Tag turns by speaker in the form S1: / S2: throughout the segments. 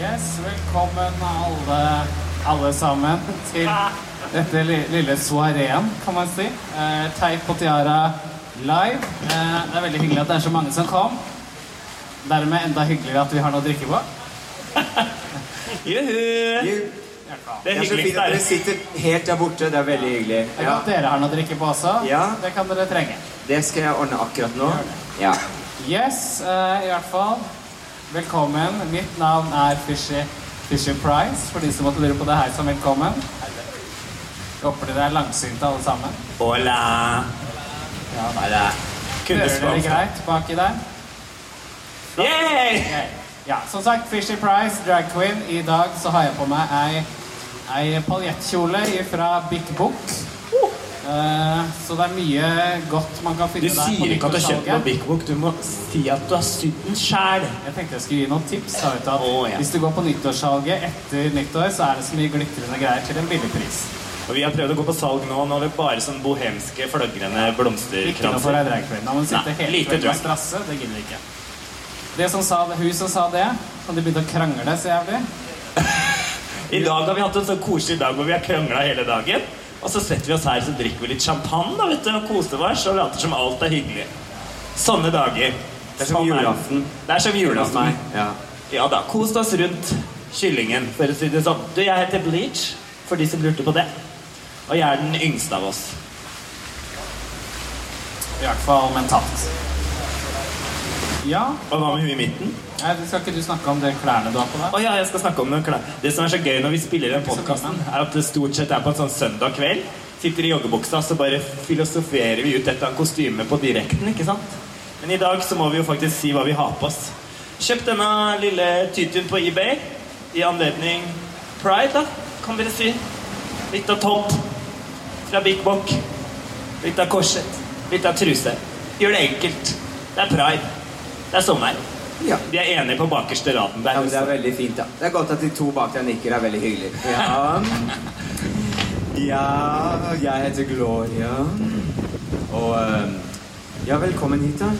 S1: Yes, velkommen alle, alle sammen til dette li- lille soareen, kan man si. Eh, Teip og Tiara live. Eh, det er veldig hyggelig at det er så mange som kom. Dermed enda hyggeligere at vi har noe å drikke på.
S2: Juhu! Det er
S3: Det er så
S2: hyggelig
S3: fint at
S2: der.
S3: dere sitter helt der borte. Det er veldig hyggelig.
S1: Det er
S3: Ja,
S1: godt dere har noe å drikke på også.
S3: Ja.
S1: Det kan dere trenge.
S3: det skal jeg ordne akkurat nå. Ja.
S1: Yes, eh, i hvert fall. Velkommen. Mitt navn er Fishy, Fishy Price, for de som måtte lure på det her som velkommen. Jeg Håper dere er langsynte alle sammen.
S2: Hola!
S1: Ja, da.
S2: Hola.
S1: Hører dere greit baki der?
S2: Yay!
S1: Ok. Ja, som sagt, Fishy Price, drag queen. I dag så har jeg på meg ei, ei paljettkjole fra Big Book. Eh, så det er mye godt man kan
S2: Du
S1: finne der. på
S2: sier ikke at du har kjøpt
S1: nyttårssalget.
S2: noe Big Book. Du må si at du har sydd den sjæl.
S1: Jeg tenkte jeg skulle gi noen tips. Da, vet du, at
S2: Å, ja.
S1: Hvis du går på nyttårssalget etter nyttår, så er det så mye glitrende greier til en billig pris.
S2: Og vi har prøvd å gå på salg nå. Nå har vi bare sånn bohemske, flagrende
S1: Ikke noe for ei
S2: blomsterkranser.
S1: drag queen. Da må du sitte
S2: Nei,
S1: helt
S2: lite
S1: kveld på
S2: drag.
S1: strasse. Det gidder vi ikke. Det som sa det, Hun som sa det, og de begynte å krangle så jævlig
S2: I dag har vi hatt en sånn koselig dag hvor vi har krangla hele dagen. Og så setter vi oss her så drikker vi litt champagne da, vet du, og koser oss og later som alt er hyggelig. Sånne dager.
S3: Det er som
S2: Sånn
S3: julaften.
S2: Det er
S3: Hos
S2: som
S3: meg.
S2: julaften.
S3: Ja.
S2: Ja da, kost oss rundt kyllingen, for å si det sånn. Du, jeg heter Bleach, for de som lurte på det. Og jeg er den yngste av oss.
S1: I hvert fall mentalt. Ja,
S2: Og hva med hun i midten?
S1: nei, skal ikke du snakke om de klærne du har på deg?
S2: Å ja, jeg skal snakke om noen klær. Det som er så gøy når vi spiller den podkasten, er at det stort sett er på en sånn søndag kveld. Sitter i joggebuksa, så bare filosoferer vi ut dette av kostyme på direkten, ikke sant? Men i dag så må vi jo faktisk si hva vi har på oss. Kjøp denne lille tytuen på eBay i anledning pride, da, kan dere si. Litt av topp fra Big Bock. Litt av korsett. Litt av truse. Gjør det enkelt. Det er pride. Det er sommer.
S3: Ja.
S2: Vi er enige på bakerste raden der.
S3: ja, men Det er veldig fint, da. Det er godt at de to bak deg nikker. Det er veldig hyggelig. Ja. ja, jeg heter Gloria. Og eh, ja, velkommen hit, da.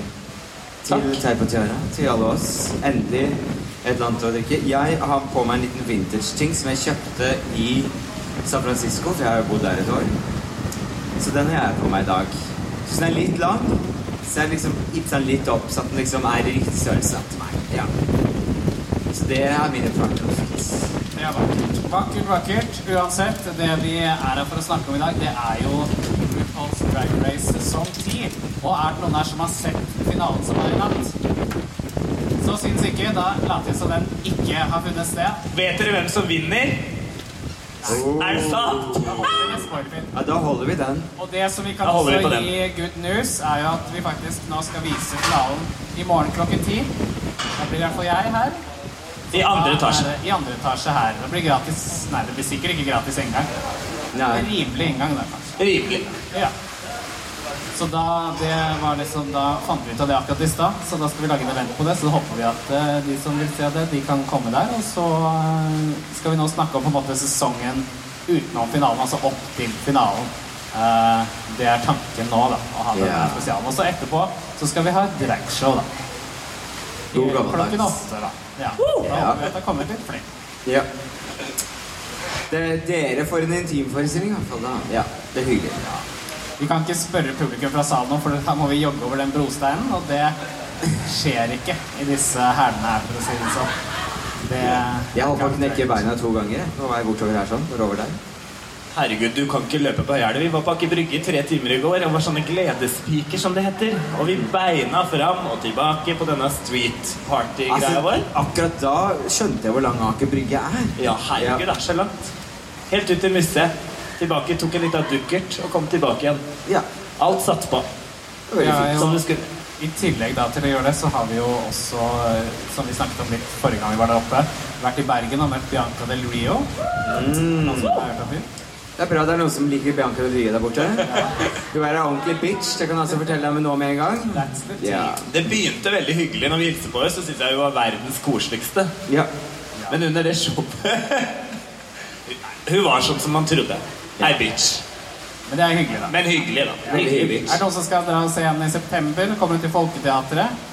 S3: Til
S2: Takk.
S3: Teip og Tiara. Til alle oss. Endelig et eller annet å drikke. Jeg har på meg en liten vintage-ting som jeg kjøpte i San Francisco, for jeg har jo bodd der et år. Så den har jeg på meg i dag. Så den er litt lang. Så jeg liksom gitt den litt opp, så at den liksom er i riktig størrelse til meg. Ja. Så det er mine praktiske
S1: Det er vakkert. Vakkert, vakkert. Uansett, det vi er her for å snakke om i dag, det er jo RuPaul's Drag Race sesong 10. Og er det noen her som har sett finalen som var i natt? Så syns ikke. Da later vi som den ikke har funnet sted.
S2: Vet dere hvem som vinner? Er det sant?
S1: Da holder vi med spoiler.
S3: Ja, da holder vi den.
S1: Og det som vi kan
S2: Da holder vi
S1: også
S2: på den.
S1: gi good news, er jo at vi faktisk nå skal vise finalen i morgen klokken ti. Da blir i hvert fall jeg her.
S2: I andre
S1: Da
S2: etasje.
S1: er det I andre etasje her. Det blir gratis Nei, det blir sikkert ikke gratis engang. Det er
S3: Nei.
S1: rimelig inngang, det, kanskje.
S2: Rimelig.
S1: Ja. Så da det var liksom, da fant vi ut av det akkurat i stad, så da skal vi lage en event på det. Så da håper vi at eh, de som vil se det, de kan komme der. Og så eh, skal vi nå snakke om på en måte sesongen utenom finalen, altså opp til finalen. Eh, det er tanken nå, da. Å ha denne
S3: Ja.
S1: spesialen. Og så etterpå så skal vi ha et dragshow, da.
S3: God gammeldags.
S1: Klokken åtte, da. Ja. Da
S3: Ja.
S1: håper vi at det kommer litt flere.
S3: Ja. Det dere får en intimforestilling, i hvert fall. da. Ja, det er hyggelig.
S1: Vi kan ikke spørre publikum fra salen om, for da må vi jogge over den brosteinen, og det skjer ikke i disse hælene her, for å si det sånn. Det
S3: Jeg holdt på å knekke beina to ganger jeg, på vei bortover her sånn. og over der.
S2: Herregud, du kan ikke løpe på Høyelv. Vi var på Aker Brygge i tre timer i går og var sånne gledespiker, som det heter. Og vi beina fram og tilbake på denne street party-greia
S3: Altså,
S2: vår.
S3: akkurat da skjønte jeg hvor lang Aker Brygge er.
S2: Ja, herregud, det er så langt. Helt ut til Musset. Tilbake, tok en liten dukkert og kom tilbake igjen.
S3: Ja.
S2: Alt satt på.
S3: Det var veldig
S1: Ja,
S3: fint.
S1: ja.
S2: Som det skulle.
S1: I tillegg da til å gjøre det, så har vi jo også, eh, som vi snakket om litt forrige
S3: Mm.
S1: gang vi var der oppe, vært i Bergen og møtt Bianca del Rio. Mm.
S3: Det er bra det er noen som liker Bianca Rodrige der borte. Du er en ordentlig bitch. Det kan jeg altså fortelle deg med nå med en gang.
S1: That's the
S3: Ja.
S2: Det begynte veldig hyggelig når vi hilste på oss, så syntes jeg hun var verdens koseligste.
S3: ja.
S2: Men under det showet Hun var sånn som man trodde. Ei bitch.
S1: Men det er hyggelig, da.
S2: Men hyggelig, da.
S3: Veldig hyggelig.
S1: Er det noen som skal dra og se henne i september? Kommer hun til Folketeatret?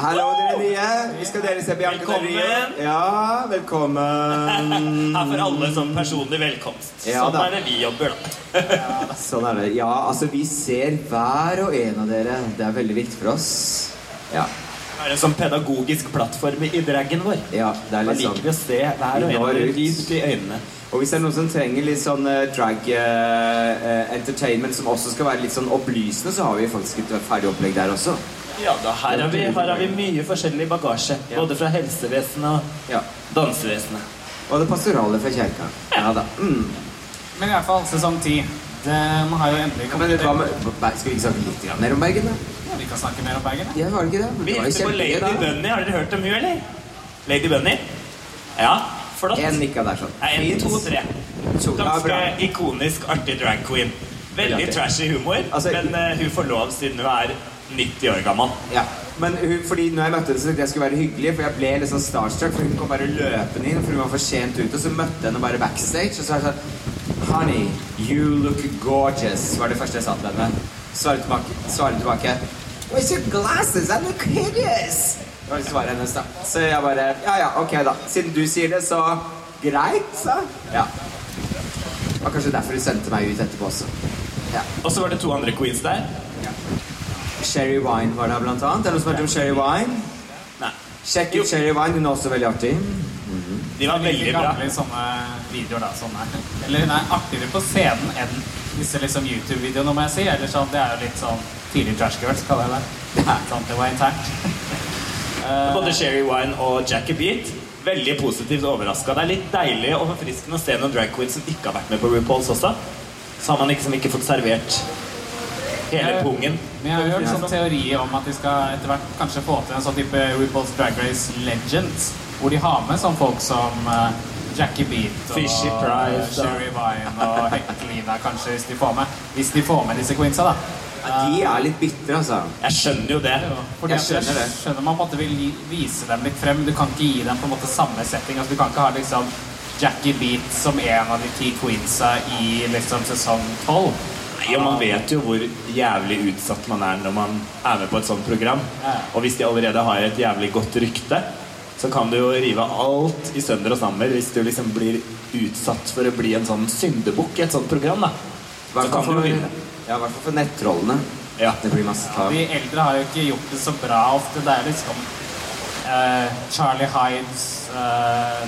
S3: Hallo, dere nye. Vi skal dere se Bianca Rodrige.
S2: Velkommen.
S3: Ja, velkommen.
S2: Her får alle sånn personlig velkomst.
S3: Ja,
S2: sånn
S3: da.
S2: er det vi jobber, da.
S3: Sånn er det. Ja, altså, vi ser hver og en av dere. Det er veldig viktig for oss. Ja.
S2: Det er en sånn pedagogisk plattform i dragen vår.
S3: Ja, det er
S2: Da
S3: litt
S2: liker
S3: sånn.
S2: vi å se hver og en av
S3: Når
S2: dere
S3: ut.
S2: dypt i øynene.
S3: Og hvis det er noen som trenger litt sånn eh, drag eh, eh, entertainment som også skal være litt sånn opplysende, så har vi faktisk et eh, ferdig opplegg der også.
S2: Ja da, her har vi, her har vi mye forskjellig bagasje.
S3: Ja.
S2: Både fra helsevesenet og
S3: Ja.
S2: dansevesenet.
S3: Og det pastorale fra kirka. Ja da. Mm.
S1: Men i hvert fall sesong ti. Den har jo endelig
S3: Men
S1: kommet.
S3: vet du hva med Ber- Skal vi ikke snakke litt grann mer om Bergen, da?
S1: Ja, vi kan snakke mer om Bergen.
S3: Ja, var det ikke det?
S2: Vi
S3: Det var jo
S2: hilser på
S3: kjempegøy,
S2: Lady
S3: da.
S2: Bunny. Har dere hørt om hun, eller? Lady Bunny? Ja, flott.
S3: En nikka der, sånn.
S2: Nei, en, to, tre.
S3: To. Ja,
S2: Ganske
S3: bra.
S2: ikonisk, artig drag queen. Veldig
S3: Veldig.
S2: trashy humor,
S3: Altså,
S2: men eh, hun får lov siden hun er 90 år gammel.
S3: Ja. Men hun, fordi når jeg møtte henne, så tenkte jeg skulle være hyggelig, for jeg ble litt sånn starstruck. For hun kom bare løpende inn, for hun var for sent ute. Og så møtte jeg henne bare backstage, og så er jeg sånn Honey, you look gorgeous, var det første jeg sa til henne. Svarer tilbake. Svarer tilbake Where's your glasses? I look hideous. Det var svaret hennes, da. Så jeg bare Ja ja, ok, da. Siden du sier det, så greit, sa Ja. Det var kanskje derfor hun sendte meg ut etterpå også. Ja.
S2: Og så var det to andre queens der.
S3: Sherry Wine var der, blant annet. Er det noen som har hørt om Sherry Wine?
S2: Nei,
S3: Sjekk
S2: Jo.
S3: ut Sherry Wine, hun er også veldig artig.
S2: de var veldig
S1: Veldig
S2: bra.
S1: gamle sånne videoer, da. Sånne. Eller hun er artigere på scenen enn disse liksom, YouTube-videoene, må jeg si. Eller sånn, det er jo litt sånn tidlig trash girls, kaller jeg det. Sånn, det var internt. Eh,
S2: Både Sherry Wine og Jackie Beat. Veldig positivt overraska. Det er litt deilig og forfriskende å se noen drag queens som ikke har vært med på RuPaul's også. Så har man liksom ikke fått servert hele
S1: Jeg-
S2: pungen.
S1: Men jeg har jo hørt sånn teori om at de skal etter hvert kanskje få til en sånn type RuPaul's Drag Race Legends, hvor de har med sånn folk som eh, Jackie Beat og
S2: Fishy Price, da.
S1: Sherry Vine og Heckelina, kanskje, hvis de får med Hvis de får med disse queensa, da.
S3: Ja, de er litt bitre, altså.
S2: Jeg skjønner jo det.
S1: Fordi
S3: Jeg
S1: at jeg
S3: skjønner det.
S1: skjønner man på en måte vil gi- vise dem litt frem. Du kan ikke gi dem på en måte samme setting. Altså, du kan ikke ha liksom Jackie Beat som en av de ti queensa i liksom sesong tolv.
S2: Nei, og Man vet jo hvor jævlig utsatt man er når man er med på et sånt program.
S1: Ja.
S2: Og hvis de allerede har et jævlig godt rykte, så kan du jo rive alt i sønder og sammen hvis du liksom blir utsatt for å bli en sånn syndebukk i et sånt program. da Så
S3: Hvertfall
S2: kan du jo
S3: for-
S2: vinne.
S3: Ja, i hvert fall for nettrollene.
S2: Ja.
S3: Det blir masse tap.
S1: De eldre har jo ikke gjort det så bra ofte. Det er liksom eh, Charlie Hides eh,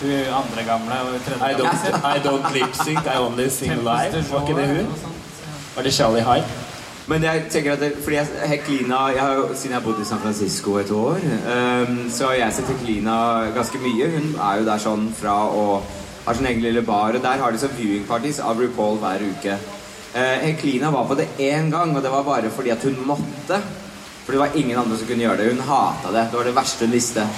S1: Hun andre gamle og hun
S2: I
S1: tredje
S2: don't, I don't lip sync, I only sing live.
S1: Tempest
S2: Var ikke det hun?
S1: og sånt, ja.
S2: Var det Charlie Hyde?
S3: Men jeg tenker at det, fordi jeg, Heklina jeg har, jo- Siden jeg har bodd i San Francisco et år, ehm, så har jeg sett Heklina ganske mye. Hun er jo der sånn fra å har sin egen lille bar, og der har de sånn viewing parties av RuPaul hver uke. Eh, Heklina var på det én gang, og det var bare fordi at hun måtte. For det var ingen andre som kunne gjøre det. Hun hata det. Det var det verste hun visste.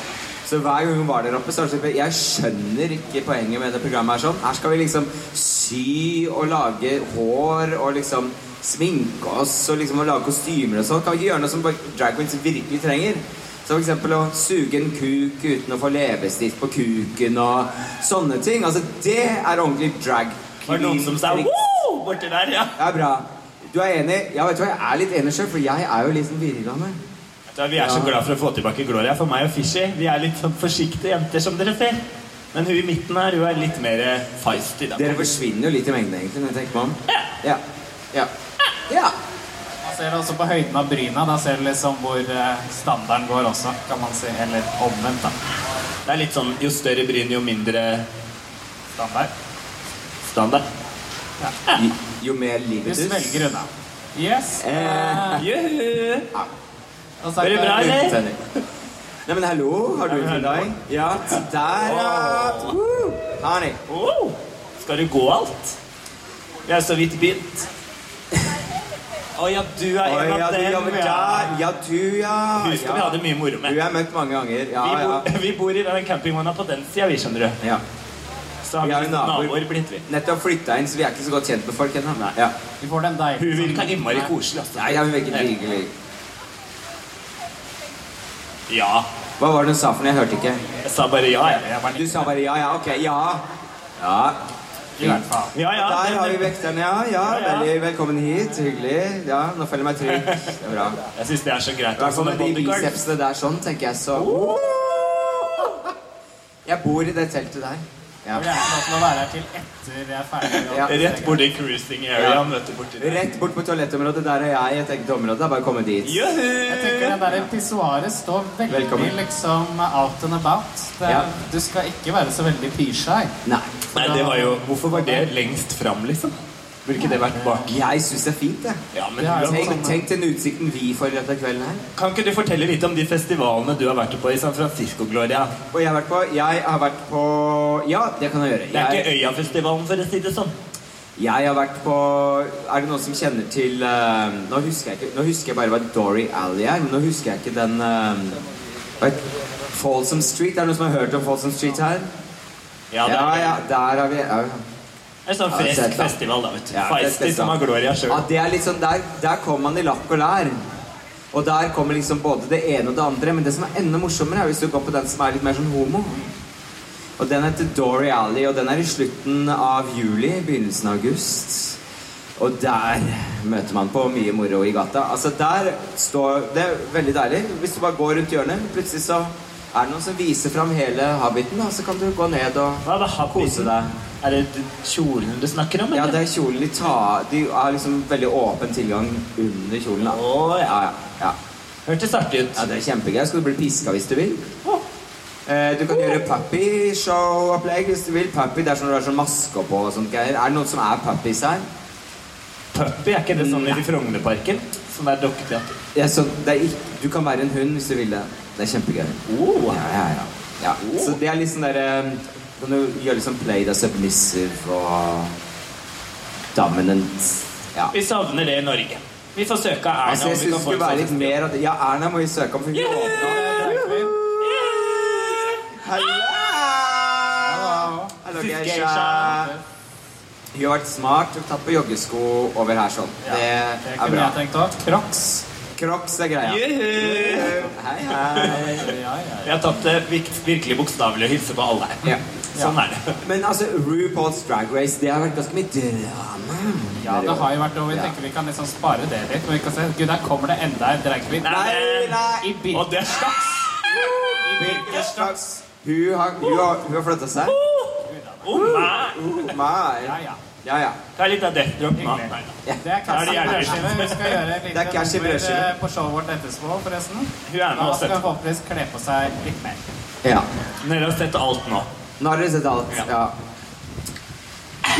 S3: Så hver gang hun var der oppe, så var det sånn Jeg skjønner ikke poenget med det programmet her sånn. Her skal vi liksom sy og lage hår og liksom sminke oss og liksom å lage kostymer og sånn. Kan vi ikke gjøre noe som bare drag queens virkelig trenger? Som f.eks. å suge en kuk uten å få leppestift på kuken og sånne ting. Altså, det er ordentlig drag
S2: Var det noen som sa
S3: queen-triks.
S2: wow borti der? Ja.
S3: Det er bra. Du er enig? Ja, vet du hva, jeg er litt enig sjøl, for jeg er jo litt sånn videregående.
S2: Vet du hva, Vi er så glad for å få tilbake Gloria. For meg og Fishy vi er litt sånn forsiktige jenter, som dere ser. Men hun i midten her, hun er litt mer eh, feisty. da.
S3: Dere forsvinner jo litt i mengden, egentlig, når jeg tenker meg om. Ja. Ja. ja.
S1: Man ser også på høyden av bryna. Da ser du liksom hvor eh, standarden går også, kan man si. Eller omvendt, da.
S2: Det er litt sånn jo større bryn, jo mindre
S1: Standard.
S2: standard.
S3: Jo, jo mer
S1: Du
S3: livet
S1: svelger unna. Yes.
S3: Eh,
S2: Juhu!
S1: Og så er
S2: Blir det
S1: det-
S2: bra, eller?
S3: Nei, men hallo, har du en deg? Ja, der, ja. Woo. Honey.
S2: Wow! Skal du gå alt? Vi er så vidt begynt. Å ja, du er
S3: Oi,
S2: en
S3: ja,
S2: av
S3: du
S2: dem.
S3: jobber
S2: ja.
S3: der. Ja, du, ja.
S2: Hun skal vi ha
S3: ja.
S2: det mye moro
S3: Du
S2: med.
S3: har møtt mange ganger. Ja,
S2: Vi
S3: ja.
S2: bor, vi bor i den campingvogna på den sida, vi, skjønner du.
S3: ja.
S2: Så har
S3: Vi
S2: vi
S3: har jo naboer.
S2: naboer blitt, vi.
S3: Nettopp flytta inn, så vi er ikke så godt kjent med folk ennå. Ja.
S1: Vi får den deilige
S2: Hun virker Sånn, innmari koselig. altså.
S3: Nei, jeg vil ikke hyggelig.
S2: Ja.
S3: Hva var det du sa for noe? Jeg hørte ikke.
S2: Jeg sa bare ja. jeg. Jeg
S3: Du
S2: bare,
S3: sa bare ja, ja, ok, ja. Ja.
S1: I hvert fall.
S2: ja, ja.
S3: Der har vi
S2: men-
S3: vekteren, ja. ja.
S2: Ja, ja.
S3: Veldig velkommen hit. Hyggelig. Ja, nå føler jeg meg trygg. Det er bra.
S2: Jeg syns det er så greit.
S3: I hvert fall med de
S2: Bodyguard.
S3: bicepsene der sånn, tenker jeg, så Jeg bor i det teltet der.
S1: Jeg vil
S3: Ja.
S1: gjerne få lov til å være her til etter vi er ferdige.
S3: Ja.
S2: Rett borti cruising area.
S3: Ja.
S2: Møte borti der.
S3: Rett bort på toalettområdet. Der er jeg i et eget område. Det er bare å komme dit.
S1: Jeg tenker
S2: Juhu!
S1: det der pissoaret står veldig
S3: Velkommen.
S1: liksom out and about. Det,
S3: Ja.
S1: Du skal ikke være så veldig pysjei.
S3: Nei.
S2: Nei, det var jo Hvorfor var det lengst fram, liksom? Burde ikke det vært bak?
S3: Jeg syns det er fint, jeg.
S2: Ja, men
S1: Det er jo
S2: du har-
S3: Tenk, tenk den utsikten vi får i dette kvelden her.
S2: Kan ikke du fortelle litt om de festivalene du har vært på i San Francisco, Gloria?
S3: Og jeg har vært på Jeg har vært på Ja, det kan jeg gjøre.
S2: Det er
S3: Jeg,
S2: ikke Øyafestivalen, for å si det sånn.
S3: jeg har vært på Er det noen som kjenner til eh, Nå husker jeg ikke Nå husker jeg bare hva Dory Alley er, men nå husker jeg ikke den eh, hva het- Folsom Street. Er det noen som har hørt om Folsom Street her?
S2: Ja, det
S3: ja,
S2: er,
S3: ja der har vi ja, ja.
S2: det er sånn
S3: Ja,
S2: fresk
S3: sett da.
S2: festival, da, vet du.
S3: Ja, fresk
S2: Feisty
S3: festival.
S2: som har Gloria
S3: Ja,
S2: sjøl.
S3: det er litt sånn, der, der kommer man i lakk og lær. Og der kommer liksom både det ene og det andre. Men det som er enda morsommere, er hvis du går på den som er litt mer sånn homo. Og den heter Dory Alley, og den er i slutten av juli, begynnelsen av august. Og der møter man på mye moro i gata. Altså der står Det er veldig deilig. Hvis du bare går rundt hjørnet, plutselig så er det noen som viser fram hele habiten, og så kan du gå ned og
S2: Hva er det
S3: kose
S2: habiten?
S3: deg.
S2: Er det d- kjolen du snakker om,
S3: Ja,
S2: eller?
S3: det er kjolen de tar De har liksom veldig åpen tilgang under kjolen, da.
S2: Å, ja.
S3: ja, ja, ja.
S2: Hørtes artig ut.
S3: ja det er kjempegøy. Skal du bli piska hvis du vil?
S2: Å.
S3: Eh, Du kan gjøre puppy-show-opplegg hvis du vil. Puppy, det er sånn du har sånn maske på og sånt greier. Er det noen som er puppies her?
S2: Puppy, er ikke det sånn i Frognerparken? Sånn der dokketeater.
S3: Ja, så det er ikke, du kan være en hund hvis du vil det. Det er kjempegøy.
S2: Oh.
S3: Ja, ja, ja. ja. Så det er litt sånn derre Kan du gjøre litt sånn play the submissive og dominant. Ja.
S2: Vi savner det i Norge. Vi får søke av
S3: Altså, jeg syns
S2: Erna. om vi
S3: det
S2: kan få
S3: skulle
S2: en
S3: være litt
S2: sånn
S3: mer at Ja, Erna må vi søke om, for hun
S2: Yeah!
S3: åpna Hallo! Hallo,
S2: Fy,
S3: Geisha.
S2: Geisha.
S3: Hun har vært smart og tatt på joggesko over her sånn.
S1: Ja,
S3: Det
S1: det
S3: er
S1: kunne
S3: bra.
S1: jeg tenkt òg. Crocs.
S3: Crocs er
S2: sånn-
S3: greia.
S2: Juhu!
S3: Hei, hei.
S1: Ja, ja.
S2: Vi har tatt det virk- virkelig bokstavelig og hilser på alle her.
S3: Ja.
S2: Sånn er det.
S3: Men altså, RuPaul's Drag Race, det har vært ganske mye drama.
S1: Ja, det har jo vært over. Vi
S3: Ja.
S1: tenker vi kan liksom spare det litt. Men vi kan se, gud, der kommer det enda en dragqueen.
S2: Nei,
S3: Nei, nei.
S1: I bil.
S2: Og det er slags.
S1: I Birkenstocks.
S3: Hun har, hun har, hun har flytta seg.
S2: Oh,
S3: Oh
S2: nei.
S1: Ja,
S3: my.
S1: ja.
S3: Ja, ja.
S2: Det er litt av death drop nå.
S1: Hyggelig.
S2: Nei, nei.
S1: Det er cash
S2: Da er det
S1: i
S2: gjerne.
S1: brødskive. Vi skal gjøre et
S3: Det er
S1: lite
S3: cash i
S1: nummer
S3: brødskive.
S1: eh, på showet vårt etterpå, forresten.
S2: Hun er med
S1: Da
S2: oss
S1: skal vi
S2: etterpå.
S1: forhåpentligvis kle på seg litt mer.
S3: ja.
S2: Dere har sett alt nå.
S3: Nå har dere sett alt. Ja.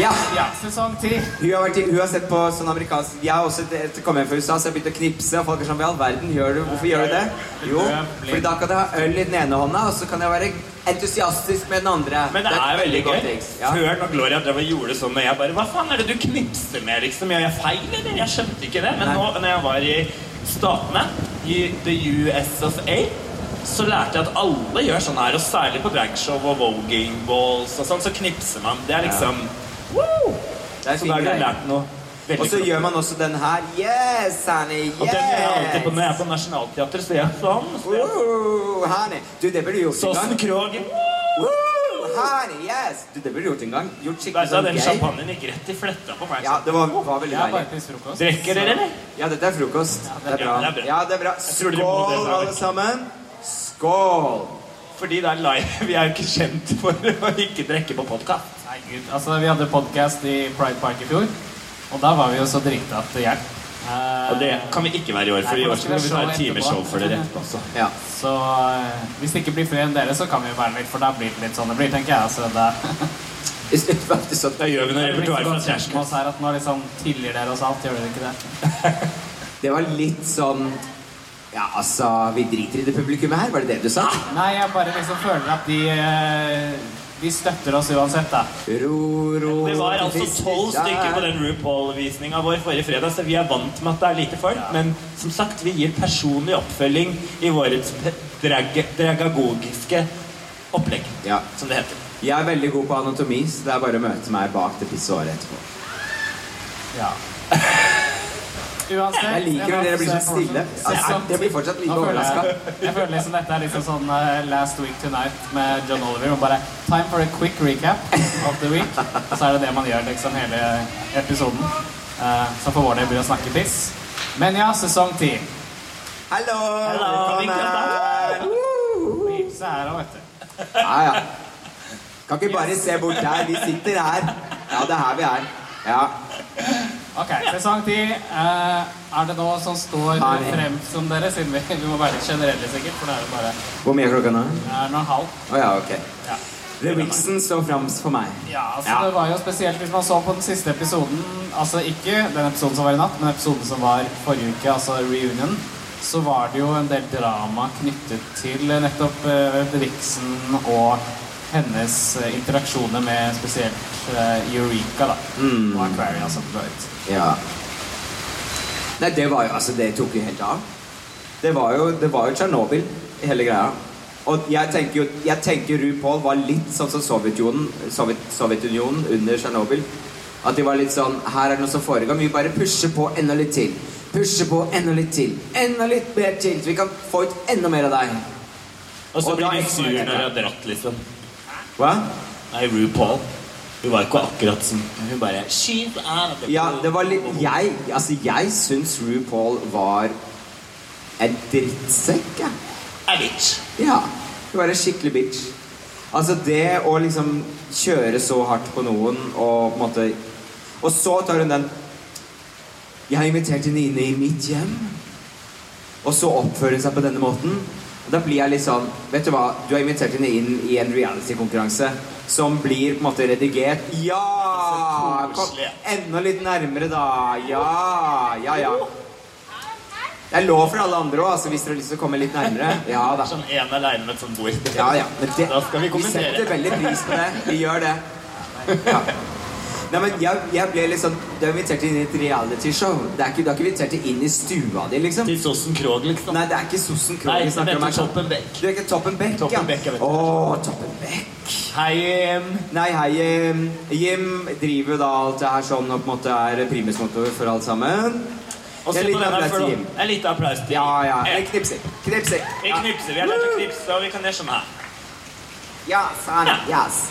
S3: ja.
S1: Ja, sesong ti.
S3: Hun har, vært, i- hun har sett på sånn amerikansk Jeg har også etter å komme hjem fra USA, så jeg begynte å knipse. Og folk er sånn Hva i all verden gjør du? Hvorfor gjør du det? Jo, fordi da kan jeg ha øl i den ene hånda, og så kan jeg være entusiastisk med den andre.
S2: Men det er veldig gøy.
S3: godt triks. Ja.
S2: Før når Gloria drev og gjorde sånn, og jeg bare Hva faen er det du knipser med, liksom? Gjør jeg feil, eller? Jeg skjønte ikke det. Men
S3: Nei.
S2: nå når jeg var i Statene, i the US of A, så lærte jeg at alle gjør sånn her, og særlig på dragshow og voging balls og sånn, så knipser man. Det er liksom Woo!
S3: Det er
S2: Så da har
S3: fint
S2: du
S3: greier.
S2: lært noe veldig
S3: Og så gjør man også den her. Yes, honey.
S2: Og den gjør jeg alltid på når
S3: Yes.
S2: jeg er på Nationaltheatret, så jeg er sånn. Så jeg,
S3: Woo, honey. Du, det burde du gjort en
S2: Såsen
S3: gang.
S2: Krog.
S3: Woo, honey, yes. Du, det burde du gjort en gang. Gjort skikkelig
S2: Vet du,
S3: sånn
S2: den
S3: gay.
S2: champagnen gikk rett i fletta på meg.
S3: Ja, det var, var veldig
S1: Jeg har
S3: deilig.
S1: bare spist frokost.
S2: Drikker dere, eller?
S3: Ja, dette er frokost. Det er
S2: ja,
S3: bra.
S2: det er bra.
S3: Ja, det er bra.
S2: tror dere må det,
S3: Skål,
S2: Fredrik.
S3: alle sammen. Skål!
S2: Fordi det er live. Vi er jo ikke kjent for å ikke drikke på podkast.
S1: Nei, gud. Altså, vi hadde podcast i Pride Park i fjor, og da var vi jo så drita til hjelp. Eh,
S2: Og det kan vi ikke være i år, for
S1: Nei,
S2: i år
S1: for
S2: skal vi ta et
S1: det skal være
S2: timeshow
S1: show etterpå.
S2: for dere etterpå også.
S3: Ja.
S1: Så eh, hvis det ikke blir flere enn dere, så kan vi jo være litt, for da blir det litt sånn det blir, tenker jeg. Altså, det,
S3: Jeg synes faktisk at
S2: Da gjør vi noe
S1: det blir
S2: repertoar
S1: så
S2: fra
S1: godt kjent med
S2: Trashcast.
S1: oss her at nå liksom tilgir dere oss alt, gjør dere ikke det?
S3: Det var litt sånn Ja, altså, vi driter i det publikummet her, var det det du sa?
S2: Ah!
S1: Nei, jeg bare liksom føler at de eh, De støtter oss uansett, da.
S3: Ro, ro
S2: Det var altså
S3: hvis
S2: tolv
S3: det er-
S2: stykker på den RuPaul-visninga vår forrige fredag, så vi er vant med at det er lite folk. Men som sagt, vi gir personlig oppfølging i vårets pe- drag dragagogiske opplegg,
S3: Ja.
S2: som det heter.
S3: Jeg er veldig god på anatomi, så det er bare å møte meg bak det pisseåret etterpå.
S1: Ja. Uansett
S3: Jeg liker når dere blir så stille. Altså, jeg blir fortsatt like
S1: Nå føler
S3: overraska.
S1: jeg, jeg føler liksom dette er liksom sånn eh, Last Week Tonight med John Oliver. Og bare Time for a quick recap of the week. Så er det det man gjør liksom hele episoden. Eh, så for vår del blir det å snakke piss. Men ja, sesong ti.
S3: Hallo!
S2: vi kan ta-
S3: velkommen! Woo!
S1: Ipse her og vet du.
S3: Ja, ja. Kan ikke bare se bort der. Vi sitter her. Ja, det er her vi er. Ja.
S1: Ok, sesong ti. eh, er det nå som står
S3: Nei.
S1: frem som dere? Siden vi, vi må være litt generelle, sikkert. For det er jo bare
S3: Hvor mye er klokka nå?
S1: Det er nå halv.
S3: Å ja, ok.
S1: Ja.
S3: The Vixen står fremst for meg.
S1: Ja, altså
S3: Ja.
S1: det var jo spesielt hvis man så på den siste episoden Altså ikke den episoden som var i natt, men episoden som var forrige uke, altså reunion Så var det jo en del drama knyttet til eh, nettopp eh, Vixen og hennes eh, interaksjoner med spesielt eh, Eureka da Og altså, Aquaria som ble ut
S3: Ja. Nei, det var jo Altså, det tok jo helt av. Det var jo Det var jo Tsjernobyl, hele greia. Og jeg tenker jo Jeg tenker RuPaul var litt sånn som Sovjetunionen, Sovjet, Sovjetunionen under Tsjernobyl. At de var litt sånn Her er det noe som foregår. Vi bare pusher på enda litt til. Pusher på enda litt til. Enda litt mer til. Så vi kan få ut enda mer av deg.
S2: Og
S3: Og
S2: så
S3: da
S2: blir
S3: er
S2: du
S3: jeg
S2: sur
S3: ikke-
S2: når du har dratt, liksom.
S3: Hva?
S2: Nei, RuPaul. Hun var ikke akkurat som Hun bare She's out of the
S3: Ja,
S2: pool."
S3: det var litt Jeg, altså, jeg syns RuPaul var en drittsekk, jeg.
S2: A bitch.
S3: Ja. Du er en skikkelig bitch. Altså, det å liksom kjøre så hardt på noen og på en måte Og så tar hun den Jeg inviterte Nine i mitt hjem, og så oppfører hun seg på denne måten. Og da blir jeg litt sånn Vet du hva, du har invitert henne inn i en reality-konkurranse som blir på en måte redigert. Ja! Kom enda litt nærmere, da. Ja, ja, ja. Det er lov for alle andre òg, altså, hvis dere har lyst til å komme litt nærmere. Ja da.
S2: Sånn en aleine med et sånt bord.
S3: Ja, ja. Men det,
S2: Da skal vi kommentere.
S3: setter veldig pris på det. Vi gjør det. Ja. Nei, men jeg, jeg ble litt sånn Du er invitert inn i et realityshow. Det er ikke- Du er ikke invitert inn i stua di, liksom.
S2: Til Sossen Krog, liksom.
S3: Nei, det er ikke Sossen Krogh
S2: Nei,
S3: vi snakker om.
S2: det er
S3: her.
S2: Toppen Beck.
S3: Du er ikke Toppen Beck,
S2: Toppen Beck, jeg vet det.
S3: Å, Toppen Beck.
S2: Hei, em,
S3: Nei, hei, em, Jim driver jo da alt det her sånn og på en måte er primusmotor for alt sammen.
S2: Og så
S3: Jeg er
S2: på
S3: litt
S2: den her
S3: applaus
S2: før
S3: til
S2: da.
S3: Jim.
S2: En liten applaus til
S3: Ja, ja.
S2: Jim.
S3: Jeg knipser. Knipser.
S2: Vi
S3: Ja.
S2: knipser. Vi har lært å knipse, og vi kan gjøre sånn her.
S3: Ja, faen. Yes.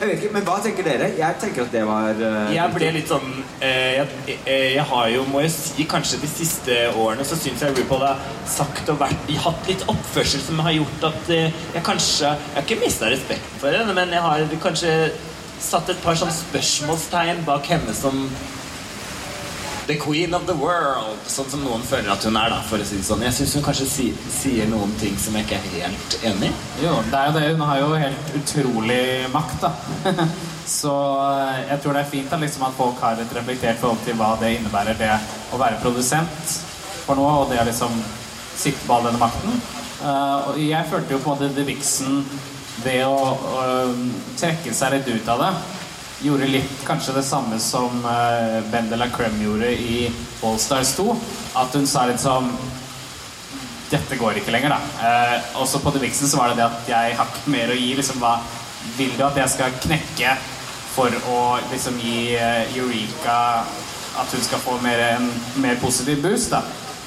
S3: Jeg vet ikke, men hva tenker dere? Jeg tenker at det var eh,
S2: Jeg ble litt sånn eh, jeg, eh, jeg har jo, må jeg si, kanskje de siste årene så syns jeg RuPaul har sagt og vært de har hatt litt oppførsel som har gjort at eh, jeg kanskje Jeg har ikke mista respekten for henne, men jeg har kanskje satt et par sånn spørsmålstegn bak henne som The queen of the world, sånn som noen føler at hun er. da, for å si det sånn. Jeg syns hun kanskje si, sier noen ting som jeg ikke er helt enig i.
S1: Jo, det er jo det. Hun har jo helt utrolig makt, da. Så eh, jeg tror det er fint da, liksom, at folk har et reflektert forhold til hva det innebærer det å være produsent for noe, og det å liksom sikte på all denne makten. Eh, og jeg følte jo på en måte The Vixen Ved å eh, trekke seg litt ut av det gjorde litt kanskje det samme som uh, Ben de la Creme gjorde i All Stars 2. At hun sa litt sånn dette går ikke lenger, da. Eh, også på The Vixen så var det det at jeg har ikke mer å gi. Liksom, hva vil du at jeg skal knekke for å liksom gi eh, Eureka at hun skal få mer, en mer positiv boost, da?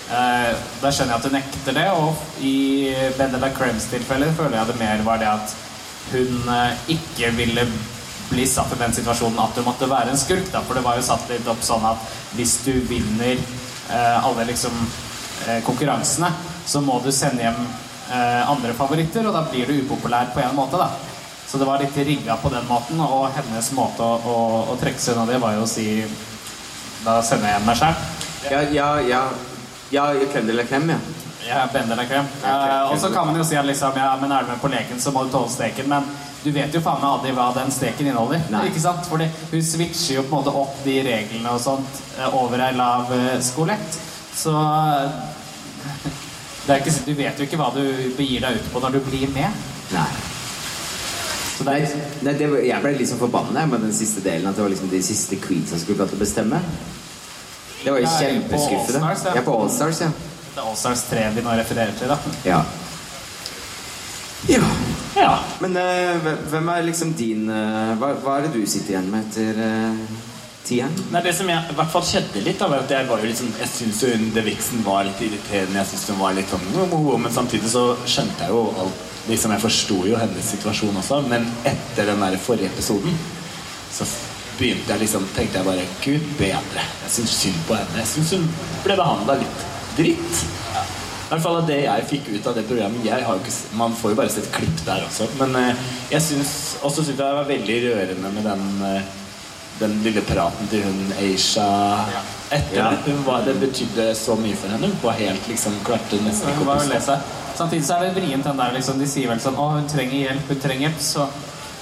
S1: Eh, da skjønner jeg at hun nekter det, og i Benela Krems tilfelle føler jeg det mer var det at hun eh, ikke ville bli satt i den situasjonen at hun måtte være en skurk, da. For det var jo satt litt opp sånn at hvis du vinner eh, alle liksom eh, konkurransene, så må du sende hjem eh, andre favoritter, og da blir du upopulær på en måte, da. Så det var litt rigga på den måten, og hennes måte å, å, å trekke seg unna det var jo å si Da sender jeg hjem meg sjæl.
S3: Ja, ja, ja. Ja, klem eller klem, ja.
S1: Jeg er bender deg klem. Eh, og så kan man jo si at liksom, ja, men er du med på leken, så må du tåle steken. Men du vet jo faen meg aldri hva den steken inneholder.
S3: Nei.
S1: Ikke sant? Fordi hun switcher jo på en måte opp de reglene og sånt eh, over ei lav eh, skolett. Så eh, det er ikke, så- du vet jo ikke hva du begir deg ut på når du blir med.
S3: Nei.
S1: Så det
S3: Nei,
S1: er liksom,
S3: nei det, var- jeg ble liksom forbanna jeg, med den siste delen. At det var liksom de siste queens som skulle få lov til å bestemme. Det var jo
S1: Ja, jeg er på All Stars,
S3: kjempeskuffende.
S1: ja.
S3: Jeg er på Allstars, ja.
S1: det er Allstars 3 vi nå refererer til, da.
S3: Ja. Ja.
S2: Ja.
S3: Men eh, hve- hvem er liksom din eh, hva, hva er det du sitter igjen med etter eh, tieren?
S2: Nei, det som jeg, i hvert fall skjedde litt da, var at jeg var jo liksom, jeg synes jo hun, The Vixen var litt irriterende, jeg synes hun var litt sånn «Wow, wow», men samtidig så skjønte jeg jo alt, liksom jeg forstod jo hennes situasjon også, men etter den der forrige episoden, så begynte jeg liksom, tenkte jeg bare, Gud bedre, jeg synes synd på henne, jeg synes hun ble behandlet litt dritt. I hvert fall av det jeg fikk ut av det programmet jeg har jo ikke, s- Man får jo bare sett klipp der også. Men eh, jeg syns også synes jeg det var veldig rørende med den, eh, den lille praten til hun Aisha etter
S3: Ja.
S2: det. Hun var, det betydde så mye for henne. Hun var helt liksom klarte nesten
S1: Hun
S2: ikke
S1: var
S2: å
S1: jo
S2: puste.
S1: lei seg. Samtidig så er det vrient den der liksom, De sier vel sånn Å, hun trenger hjelp, hun trenger hjelp. Så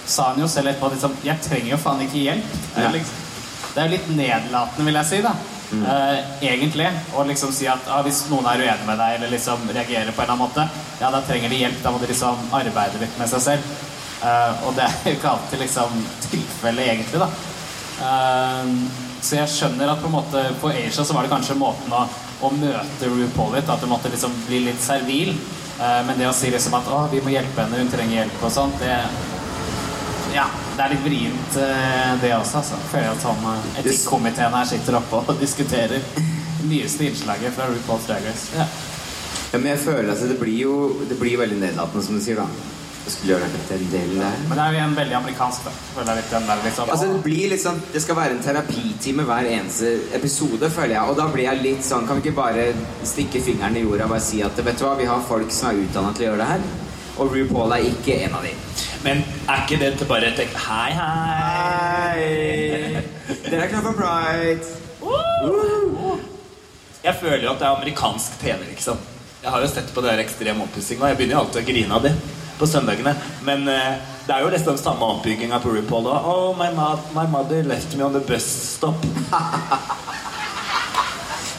S1: sa hun jo selv etterpå liksom Jeg trenger jo faen ikke hjelp. Det er,
S3: Ja.
S1: jo liksom, det er jo litt nedlatende, vil jeg si, da. Eh, egentlig. Å liksom si at ah, hvis noen er uenig med deg, eller liksom reagerer på en eller annen måte, ja, da trenger de hjelp. Da må de liksom arbeide litt med seg selv. Eh, og det er jo ikke alltid liksom tilfellet, egentlig, da. Eh, så jeg skjønner at på en måte på Asia så var det kanskje måten å, å møte RuPaul litt, at hun måtte liksom bli litt servil. Eh, men det å si liksom at å, vi må hjelpe henne, hun trenger hjelp og sånt, det Ja, det er litt vrient eh, det også, altså. Føler jeg at sånn eh, etikkomiteen her sitter oppe og diskuterer det nyeste innslaget fra RuPaul's Drag Race. Ja.
S3: Ja, men jeg føler at det blir jo det blir veldig nedlatende, som du sier, da. Jeg skulle gjøre det til en del der.
S1: Men det er jo igjen veldig amerikansk, da. Føler jeg litt den der liksom
S3: Altså, det blir litt sånn Det skal være en terapitime hver eneste episode, føler jeg. Og da blir jeg litt sånn Kan vi ikke bare stikke fingeren i jorda og bare si at vet du hva, vi har folk som er utdannet til å gjøre det her, og RuPaul er ikke en av de.
S2: Men er ikke det til bare et ek- Hei, hei.
S3: Hei! Dere er klare for pride.
S2: Jeg føler jo at det er amerikansk TV, liksom. Jeg har jo sett på det der ekstrem oppussing, og jeg begynner jo alltid å grine av det på søndagene. Men eh, det er jo nesten samme oppbygginga på RuPaul. da. Oh, my, mo my mother left me on the bus stop.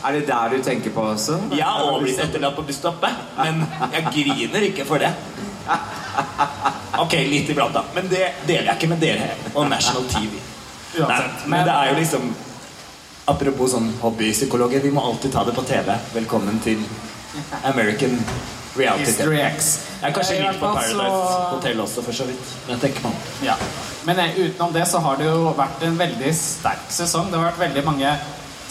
S3: Er det der du tenker på også?
S2: Jeg har også blitt etterlatt på busstoppet, men jeg griner ikke for det. Ok, litt iblant, da. Men det deler jeg ikke med dere og National TV. Nei,
S1: Uansett.
S2: men det er jo liksom Apropos sånn hobbypsykologer, vi må alltid ta det på TV. Velkommen til American reality. TV.
S1: History X.
S2: Jeg er kanskje
S1: Eh, i
S2: litt på
S1: hvert fall så-
S2: Paradise Hotel også, for så vidt. Men jeg tenker meg om.
S1: Ja. Men eh, utenom det så har det jo vært en veldig sterk sesong. Det har vært veldig mange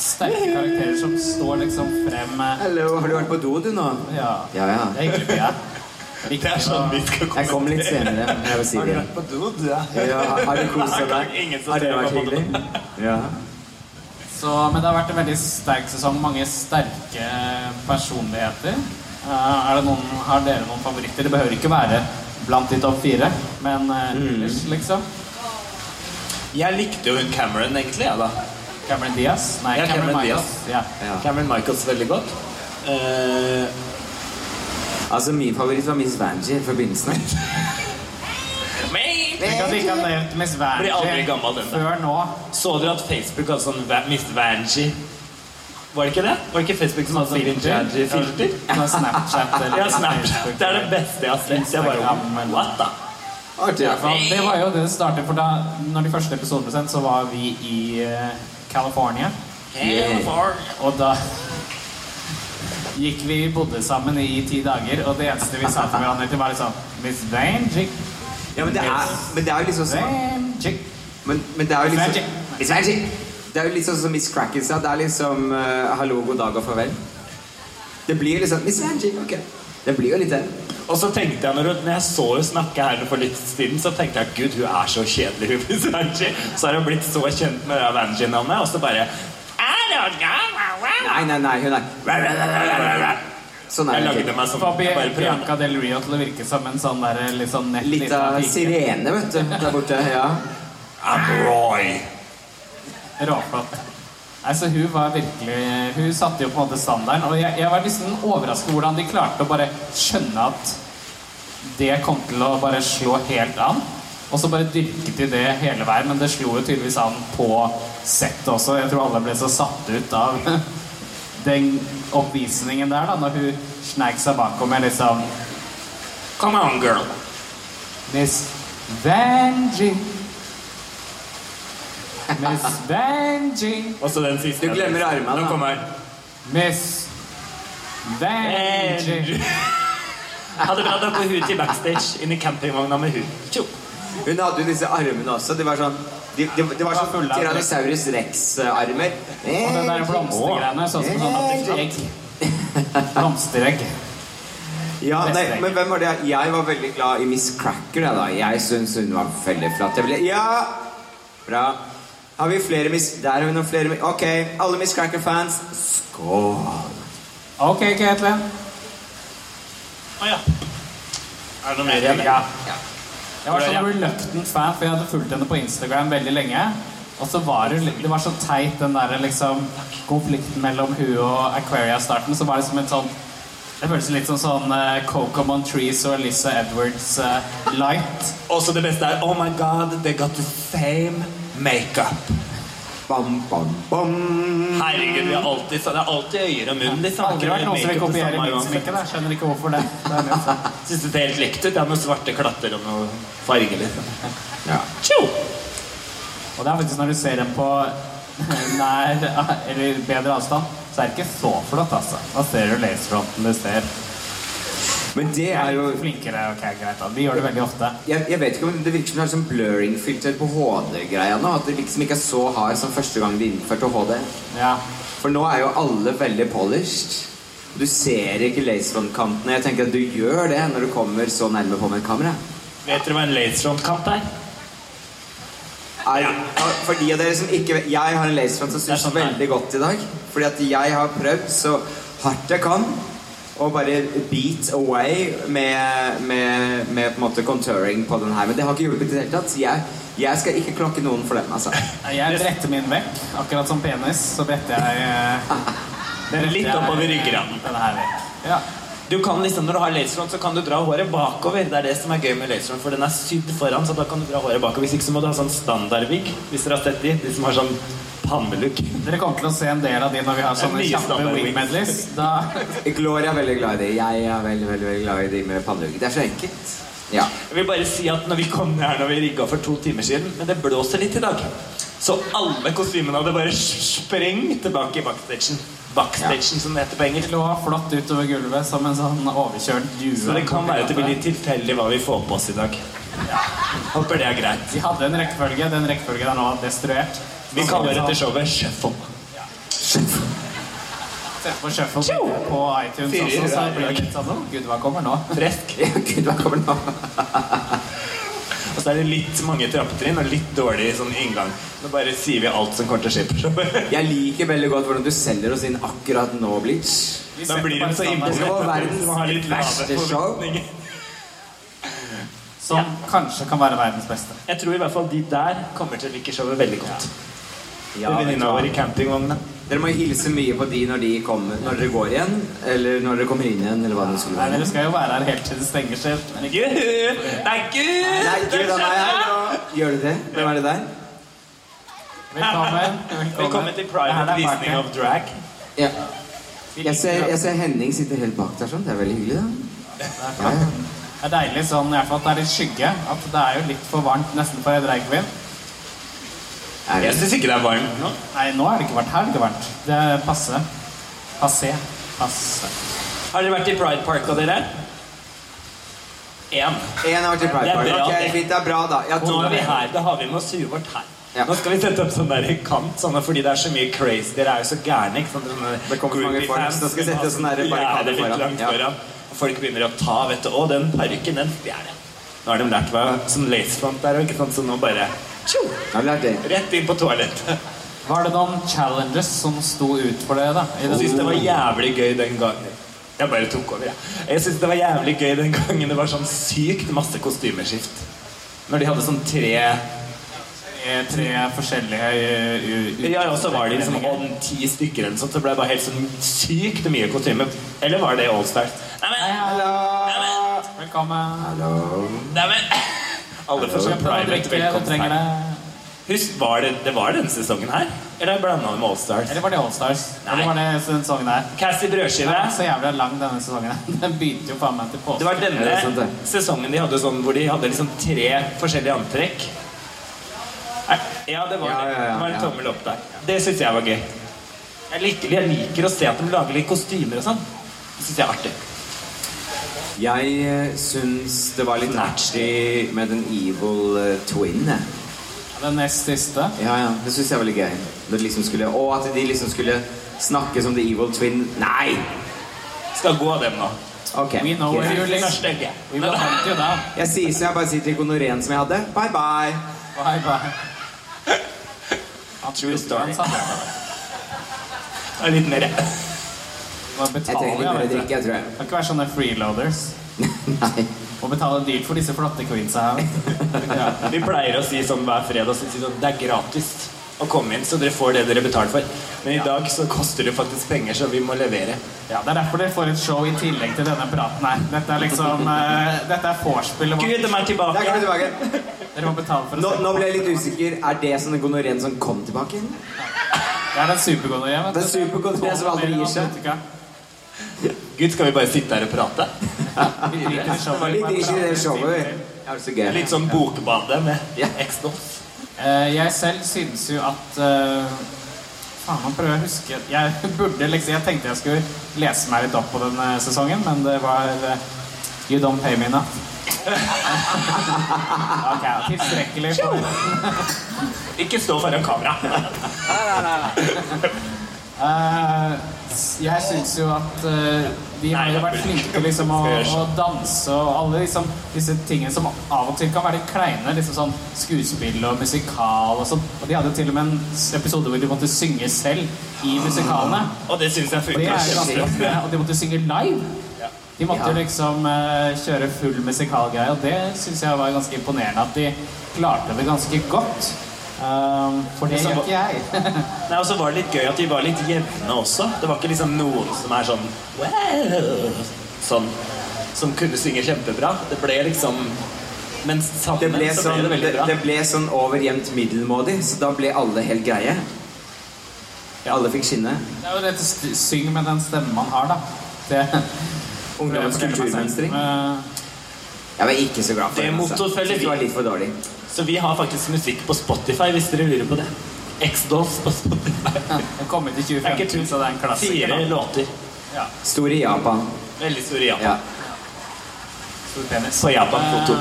S1: sterke karakterer som står liksom frem eh,
S3: Hallo, har du vært på do, du, nå?
S1: Ja.
S3: Ja, ja.
S1: Det er hyggelig. for deg. Viktig
S2: Det er sånn vi
S1: å-
S2: skal
S3: Jeg kom litt senere. men Jeg vil si
S2: Har du
S3: det.
S2: vært på do, du? Ja.
S3: Ja, har du koset
S2: Nei,
S3: deg?
S2: ingen som
S3: Har det
S2: ser
S3: vært
S2: meg på do.
S3: hyggelig? Ja.
S1: så, Men det har vært en veldig sterk sesong. Mange sterke personligheter. Eh, er det noen, har dere noen favoritter? Det behøver ikke være blant de topp fire, men eh,
S2: Mm.
S1: ellers, liksom.
S2: Jeg likte jo hun Cameron, egentlig. Ja, da.
S1: Cameron Diaz? Nei,
S2: Ja,
S1: Cameron,
S2: Cameron
S1: Michaels. Ja.
S3: ja.
S2: Cameron Michaels veldig godt. Eh,
S3: Altså, min favoritt var Miss Vanjie i forbindelsen. her.
S2: men
S1: Tenk at vi ikke har nevnt Miss
S2: Blir aldri
S1: Vanjie
S2: gammel, den der.
S1: før nå.
S2: Så dere at Facebook hadde sånn Va- Miss Vanjie? Var det ikke det? Var det ikke Facebook som hadde sånn Miss Vanjie-filter?
S1: På Snapchat eller
S2: Ja, Snapchat. Det er det beste jeg har sett. Jeg bare,
S1: Instagram.
S2: what da?
S3: Artig, i hvert fall.
S1: Ja, det var jo det det startet, for da når de første episodene ble sendt, så var vi i eh, California. Og da gikk vi bodde sammen i ti dager, og det eneste vi sa til hverandre, til var liksom Miss Vanjik,
S3: Ja, men det er, men det er jo liksom sånn
S1: Vanjik.
S3: Men, men det er jo
S1: Magic.
S3: liksom It's magic. Det er jo litt sånn som Miss Cracken sa. Det er liksom eh, hallo, god dag og farvel. Det blir liksom Miss Magic, ok. Det blir jo litt det.
S2: Og så tenkte jeg, når, hun- når jeg så hun snakke her for litt siden, så tenkte jeg gud, hun er så kjedelig, hun Miss Vanjie. Så har hun blitt så kjent med det Vanjie-navnet, og så bare I don't know.
S3: Nei, nei, nei, hun er Sånn er
S2: Jeg
S3: det
S2: lagde
S3: ikke.
S2: meg sånn.
S1: Får
S2: Jeg bare prøvde.
S1: Bianca Del Rio til å virke som en sånn der litt sånn nett
S3: Litt
S1: liten
S3: av
S1: pike.
S3: sirene, vet du, der borte. Ja.
S2: I'm Roy.
S1: Råflott. Altså, hun var virkelig Hun satte jo på en måte standarden. Og jeg, jeg var liksom overrasket hvordan de klarte å bare skjønne at det kom til å bare slå helt an. Og så bare dyrket de det hele veien, men det slo jo tydeligvis an på settet også. Jeg tror alle ble så satt ut av den oppvisningen der, da, når hun sneik seg bakom med liksom
S2: Come on, girl.
S1: Miss Vanjie. Miss Vanjie.
S2: Og så den siste.
S3: Du glemmer armene,
S2: Nå
S3: da.
S2: kommer jeg.
S1: Miss Vanjie.
S2: Hadde dratt opp på hun til backstage inn i campingvogna med hun. Tjo.
S3: Hun hadde jo disse armene også. De var sånn de, de, de var sånn
S1: fulle av-
S3: Tyrannosaurus rex-armer. Eh,
S1: Og den der blomstergreiene, sånn som sånn at det egg. Blomsteregg.
S3: Ja, nei, men hvem var det? Jeg var veldig glad i Miss Cracker. jeg, Da. Jeg syns hun var veldig flott. Jeg ville Ja! Bra. Har vi flere Miss Der har vi noen flere mi- Ok, alle Miss Cracker-fans, skål!
S1: Ok, Caitlin.
S2: Å ja. Er det noe mer igjen?
S1: Ja. Jeg var sånn reluctant fan, for jeg hadde fulgt henne på Instagram veldig lenge. Og så var det, det var så teit, den der liksom, konflikten mellom hun og Aquaria-starten. Så var det som en sånn Det føles litt som sånn eh, Coco Montrese og Elisa Edwards eh, light.
S2: Også det beste er Oh my god, they got the same makeup.
S3: Bam, bam, bam.
S2: Herregud, vi har alltid, det er alltid øyer og munn. liksom. De
S1: Det
S2: snakker
S1: har vært
S2: om
S1: noen som vil
S2: sånn makeup det
S1: kopiere
S2: samme
S1: min sminke.
S2: uansett.
S1: da. Skjønner ikke hvorfor det. det er litt sånn.
S2: Synes det er helt likt ut. Det er noen svarte klatter og noe farge, liksom.
S3: Ja.
S2: Tjo!
S1: Og det er faktisk når du ser dem på nær eller bedre avstand, så er det ikke så flott, altså. Da ser du laserfronten du ser.
S3: Men det er jo
S1: Flinkere, ok, greit da. De gjør det veldig ofte.
S3: jeg, jeg vet ikke om det virker som det er sånn blurring-filter på HD-greia nå. At det liksom ikke er så hard som første gang de innførte HD.
S1: Ja.
S3: For nå er jo alle veldig polished. Du ser ikke lacefront-kantene. Jeg tenker at du gjør det når du kommer så nærme på med et kamera.
S2: Vet dere hva en laserfront-kant er?
S3: Er, for de av dere som ikke vet Jeg har en lacefront som
S2: Det er
S3: syns
S2: sånn her.
S3: veldig godt i dag. Fordi at jeg har prøvd så hardt jeg kan å bare beat away med, med, med på en måte contouring på den her. Men det har ikke hjulpet i det hele tatt. Så jeg, jeg skal ikke klokke noen for den, altså.
S1: Jeg bretter min vekk, akkurat som penis, så bretter jeg eh, det bretter
S2: Litt
S1: jeg,
S2: oppover
S1: eh,
S2: ryggraden.
S1: Denne her vekk. Ja.
S2: Du kan liksom, Når du har laserfront, så kan du dra håret bakover. Det er det som er gøy med laserfront, for den er sydd foran, så da kan du dra håret bakover. Hvis ikke så må du ha sånn standardvigg, hvis dere har sett de. De som har sånn pannelugg.
S1: Dere kommer til å se en del av de når vi har sånne
S2: Det er mye
S1: kjappe
S2: standard
S1: wing medleys. Da,
S3: Gloria er veldig glad i det. Jeg er veldig, veldig, veldig glad i de med pannelugg. Det er så enkelt. Ja.
S2: Jeg vil bare si at når vi kom ned her når vi rigga for to timer siden, men det blåser litt i dag. Så alle kostymene hadde bare sprengt tilbake i backstagen. Backstagen, som det heter på engelsk.
S1: lå flott utover gulvet som en sånn overkjørt due.
S2: Så det kan være at det blir litt tilfeldig hva vi får på oss i dag. Håper det er greit.
S1: De hadde en rekkefølge. Den rekkefølgen er nå destruert.
S2: Vi kaller dette showet Shuffle.
S1: Se på Shuffle på iTunes
S2: Fyrer
S1: også, så
S2: er i
S1: blir det litt sånn «Å, Gud, hva kommer nå?
S2: Fresk.
S3: Gud, hva kommer nå?
S2: Og så er det litt mange trappetrinn og litt dårlig sånn inngang. Nå bare sier vi alt som kommer til å skje på showet.
S3: Jeg liker veldig godt hvordan du selger oss inn akkurat nå, Blitz.
S1: Vi
S2: Da
S1: setter
S2: blir
S1: bare
S2: de så
S1: standarden.
S2: imponert.
S3: Det var
S2: at
S3: verdens
S2: de har litt lave
S3: verste show.
S2: forventninger.
S1: Som kanskje kan være verdens beste.
S2: Jeg tror i hvert fall de der kommer til å like showet veldig godt.
S3: Ja, vet du
S2: Venninna
S3: hva?
S2: vår i campingvogna.
S3: dere må hilse mye på de når de kommer Når dere går igjen, eller når dere kommer inn igjen, eller hva det skulle
S1: Nei,
S3: være.
S1: Dere skal jo være her helt til det stenger seg. Men ikke
S2: Gud! Det er Gud!
S3: Nei, Gud, han er her nå! Gjør du det? Hvem er det der?
S1: Velkommen.
S2: Velkommen til
S1: Det
S2: private
S1: her er
S2: visning
S1: partner.
S2: av drag.
S3: Ja. Jeg ser, jeg ser Henning sitter helt bak der sånn. Det er veldig hyggelig, da. Ja, ja.
S1: Det er deilig sånn i hvert fall at det er litt skygge. At det er jo litt for varmt nesten for en drag queen.
S3: Er det?
S2: syns ikke det er varmt nå.
S1: Nei, nå er det ikke varmt. Her er det ikke varmt. Det er passe. Passé. Passe.
S2: Har dere vært i Pride Park, og dere? Én.
S3: En har vært i Pride
S2: Det er
S3: Park.
S2: bra,
S3: Ok,
S2: det.
S3: fint, det er bra, da. Ja,
S2: Nå
S3: to.
S2: er vi her. Da har vi med oss huet vårt her.
S3: Ja.
S2: Nå skal vi sette opp sånn der kant, sånn, fordi det er så mye crazy. Dere er jo så gærne. ikke sant? Sånne
S3: Det kommer så mange
S2: groupie
S3: folk,
S2: fans.
S3: så skal vi sette oss sånn der barrikade
S2: Gjerde litt
S3: foran.
S2: langt
S3: Ja.
S2: foran. Og Folk begynner å ta, vet du. Å, den parykken, den stjeler jeg. Nå har de lært meg sånn lacefront der, og ikke sant, så nå bare tjo,
S3: Har vi lært det?
S2: rett inn på toalettet.
S1: Var det noen challenges som sto ut for dere, da? i
S2: Jeg
S1: denne-
S2: syns det var jævlig gøy den gangen. Jeg bare tok over, jeg. Jeg syns det var jævlig gøy den gangen det var sånn sykt masse kostymeskift. Når de hadde sånn tre
S1: Eh, tre forskjellige eh, u- u-
S2: Ja, og så var de liksom om ti stykker eller noe sånt, så ble det bare helt sånn sykt mye kostyme. Eller var det Allstars? Neimen,
S1: Hallo.
S2: neimen,
S1: Velkommen.
S3: Hallo.
S2: neimen Alle får sånn
S1: Kjøp deg noe å drikke,
S2: private
S1: du
S2: velkomst
S1: trenger
S2: her.
S1: det.
S2: Husk, var det, det var denne sesongen her? Eller blanda med Allstars?
S1: Eller var det Allstars? Eller
S2: Nei.
S1: var det sesongen her?
S2: Cassie
S1: Den
S2: Brødskive.
S1: er så jævlig lang denne sesongen. Den begynte jo faen meg til
S2: Det
S1: påske.
S2: var denne
S3: Ja, det er sant, det.
S2: sesongen de hadde sånn hvor de hadde liksom tre forskjellige antrekk. Nei, Ja, det var
S3: Ja,
S2: det.
S3: ja, ja,
S2: Det var en
S3: ja.
S2: tommel opp der. Det syns jeg var gøy. Jeg liker, jeg liker å se at de lager litt kostymer og sånn. Det syns jeg er artig.
S3: Jeg eh, syns det var litt artig med den evil eh, twin. jeg.
S1: Den nest siste.
S3: Ja, ja, Det syns jeg var litt gøy. Det liksom skulle, og at de liksom skulle snakke som the evil twin. Nei!
S2: Skal gå dem nå.
S3: Ok.
S1: We know where you
S3: greit.
S2: De er
S1: live.
S2: stygge.
S1: We will hunt you down.
S3: Jeg sier så jeg bare sier til gonoreen som jeg hadde. Bye, bye.
S1: Bye, bye. Han
S2: True story.
S1: sa det.
S2: Det er Litt mer.
S1: Må
S3: Jeg
S1: betale,
S3: trenger litt mer
S1: vet du.
S3: drikke, jeg tror jeg.
S1: Kan ikke være sånne freeloaders.
S3: Nei.
S1: Må betale dyrt for disse flotte queensa her. vet du. Ja.
S2: Vi pleier å si sånn hver fredag så sier vi sånn, det er gratis å komme inn, så dere får det dere betaler for. Men i dag så koster det faktisk penger, så vi må levere.
S1: Ja, Det er derfor dere får et show i tillegg til denne praten her. Dette er liksom eh, Dette er vorspielet vårt.
S2: Gud, de er
S3: Der
S2: tilbake!
S3: kommer du tilbake.
S1: Dere må betale for
S3: Nå,
S1: å se.
S3: nå ble jeg litt usikker. Er det sånn gonoreen som kom tilbake igjen?
S1: Det er den supergode hjem.
S3: Det er supergonoreen som aldri gir seg.
S2: Gud, skal vi bare sitte her og prate?
S1: Vi driter i showet.
S3: Vi driter i det showet, vi. Ja, det er så gøy.
S2: Litt sånn bokbade med
S3: Ja.
S2: X-Dos.
S1: Eh, jeg selv synes jo at eh, Faen, man prøver å huske Jeg burde liksom Jeg tenkte jeg skulle lese meg litt opp på denne sesongen, men det var eh, You don't pay me enough. ok, tilstrekkelig.
S2: Ikke stå foran kamera.
S1: Eh, s- jeg syns jo at eh, de har
S2: Nei,
S1: jo
S2: jeg
S1: vært
S2: burde
S1: flinke
S2: ikke.
S1: til liksom å,
S2: Skal jeg
S1: å
S2: gjøre
S1: danse og alle liksom, disse tingene som av og til kan være litt kleine. Liksom sånn skuespill og musikal og sånn. Og de hadde jo til og med en s- episode hvor de måtte synge selv i musikalene.
S2: Og det syns jeg
S1: Og det er
S2: funker.
S1: jo ganske
S2: kjempebra.
S1: ofte. Og de måtte synge live. De måtte jo
S3: Ja.
S1: liksom eh, kjøre full musikalgreie, og det syns jeg var ganske imponerende at de klarte det ganske godt. Eh, for det
S2: Det som
S1: gjør ikke jeg.
S2: Nei, Og så var det litt gøy at de var litt jevne også. Det var ikke liksom noen som er sånn wow, sånn som kunne synge kjempebra. Det ble liksom Men
S3: Det
S2: sammen
S3: ble
S2: så
S3: sånn,
S2: ble det
S3: det,
S2: veldig bra.
S3: det ble sånn over jevnt middelmådig, så da ble alle helt greie. Alle fikk skinne.
S1: Det er jo det å synge med den stemmen man har, da. Det
S3: Ungdommens kulturmønstring.
S1: Eh,
S3: Jeg var ikke så glad for
S2: Det
S3: den, altså.
S2: mottofellet
S3: Synes det var litt for dårlig.
S2: Så vi har faktisk musikk på Spotify, hvis dere lurer på det. X-Dolls på Spotify.
S1: Den kom ut i
S2: Det er ikke
S1: 2015,
S2: tull,
S1: så det er en klassiker.
S2: Fire
S1: da.
S2: låter.
S1: Ja,
S3: Stor i Japan.
S2: Veldig stor i Japan.
S3: Ja.
S1: stor penis.
S2: På Japan-foto.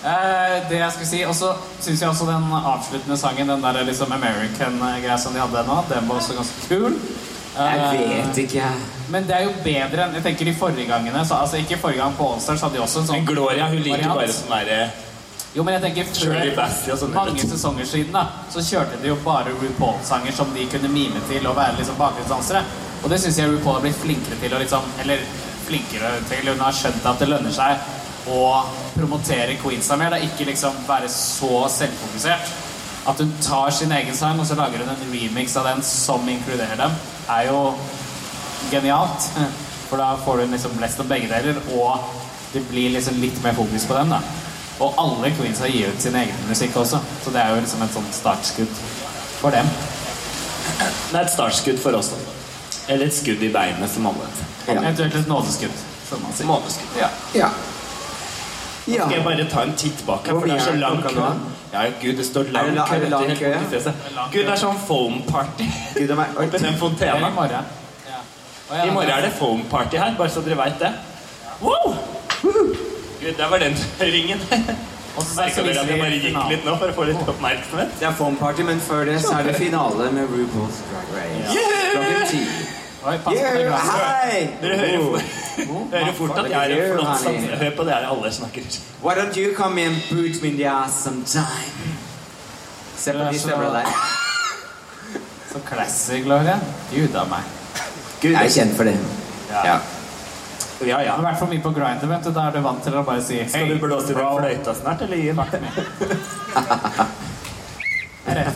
S1: Eh, det jeg skulle si, og så syns jeg også den avsluttende sangen, den der liksom American-greia som de hadde nå, den var også ganske kul.
S3: Jeg
S1: Eh,
S3: vet ikke, jeg.
S1: Men det er jo bedre enn Jeg tenker de forrige gangene så, Altså ikke forrige gang på Allstars hadde de også en
S2: Men
S1: sånn
S2: Gloria hun liker
S1: variant.
S2: bare sånn derre
S1: Jo, men jeg tenker
S2: Shirley
S1: før
S2: Bassey og sånn.
S1: mange sesonger siden da, så kjørte de jo bare RuPaul-sanger som de kunne mime til og være liksom bakgrunnsdansere. Og det syns jeg RuPaul har blitt flinkere til å liksom Eller flinkere til Hun har skjønt at det lønner seg å promotere queensa mer. Da. Ikke liksom være så selvfokusert. At hun tar sin egen sang, og så lager hun en remix av den som inkluderer dem, er jo genialt. For da får du liksom blest om begge deler, og det blir liksom litt mer fokus på den. da. Og alle queensa gir ut sin egen musikk også, så det er jo liksom et sånt startskudd for dem.
S2: Det er et startskudd for oss. da. Eller et skudd i beinet, som alle heter.
S3: Ja.
S1: Eventuelt et nådeskudd, som man sier.
S2: Måneskudd. Ja.
S3: Ja. ja.
S2: Skal jeg bare ta en titt bak her,
S3: Hvor
S2: for det er
S3: mye
S2: så
S3: er det
S2: lang
S3: klokka
S2: kø.
S3: nå?
S2: Ja, gud, det står
S3: Er
S2: lang
S3: det la-
S2: kø.
S3: er det lang
S2: helt
S3: kø, ja?
S2: borti fjeset. Gud, det er sånn foam party
S3: Gud a meg. Oi.
S2: oppi den
S1: Det er i
S2: fontena.
S1: morgen. Ja. Og
S2: I
S1: jeg-
S2: morgen er det foam party her, bare så dere veit det. Wow! Woohoo! Gud, der var den ringen.
S1: Og så
S2: Merka dere at jeg bare gikk litt nå for å få litt oppmerksomhet?
S3: Det er foam party, men før det så er det finale med RuPaul's Drag Race.
S2: Yeah!
S3: Klokken ti.
S1: Oi, pass på det
S3: Yeah,
S1: glasset.
S3: hei!
S2: Dere hører,
S3: Oh.
S2: fort- hører fort at jeg er en flott
S3: sånn-
S2: satser. Hør på det her, alle snakker.
S3: Why don't you come in and boot me in the ass sometime? Se på
S1: Du er
S3: de
S1: så-
S3: støvlene der.
S1: Så classy, Gloria. Gud a meg.
S2: Gud,
S3: Jeg er kjent for det. Ja.
S2: ja, ja.
S1: Du har vært for mye på grinder, vet du. Da er du vant til å bare si
S2: Skal du
S1: «Hey,
S2: blåse i den
S1: bro».
S2: fløyta snart, eller gi meg?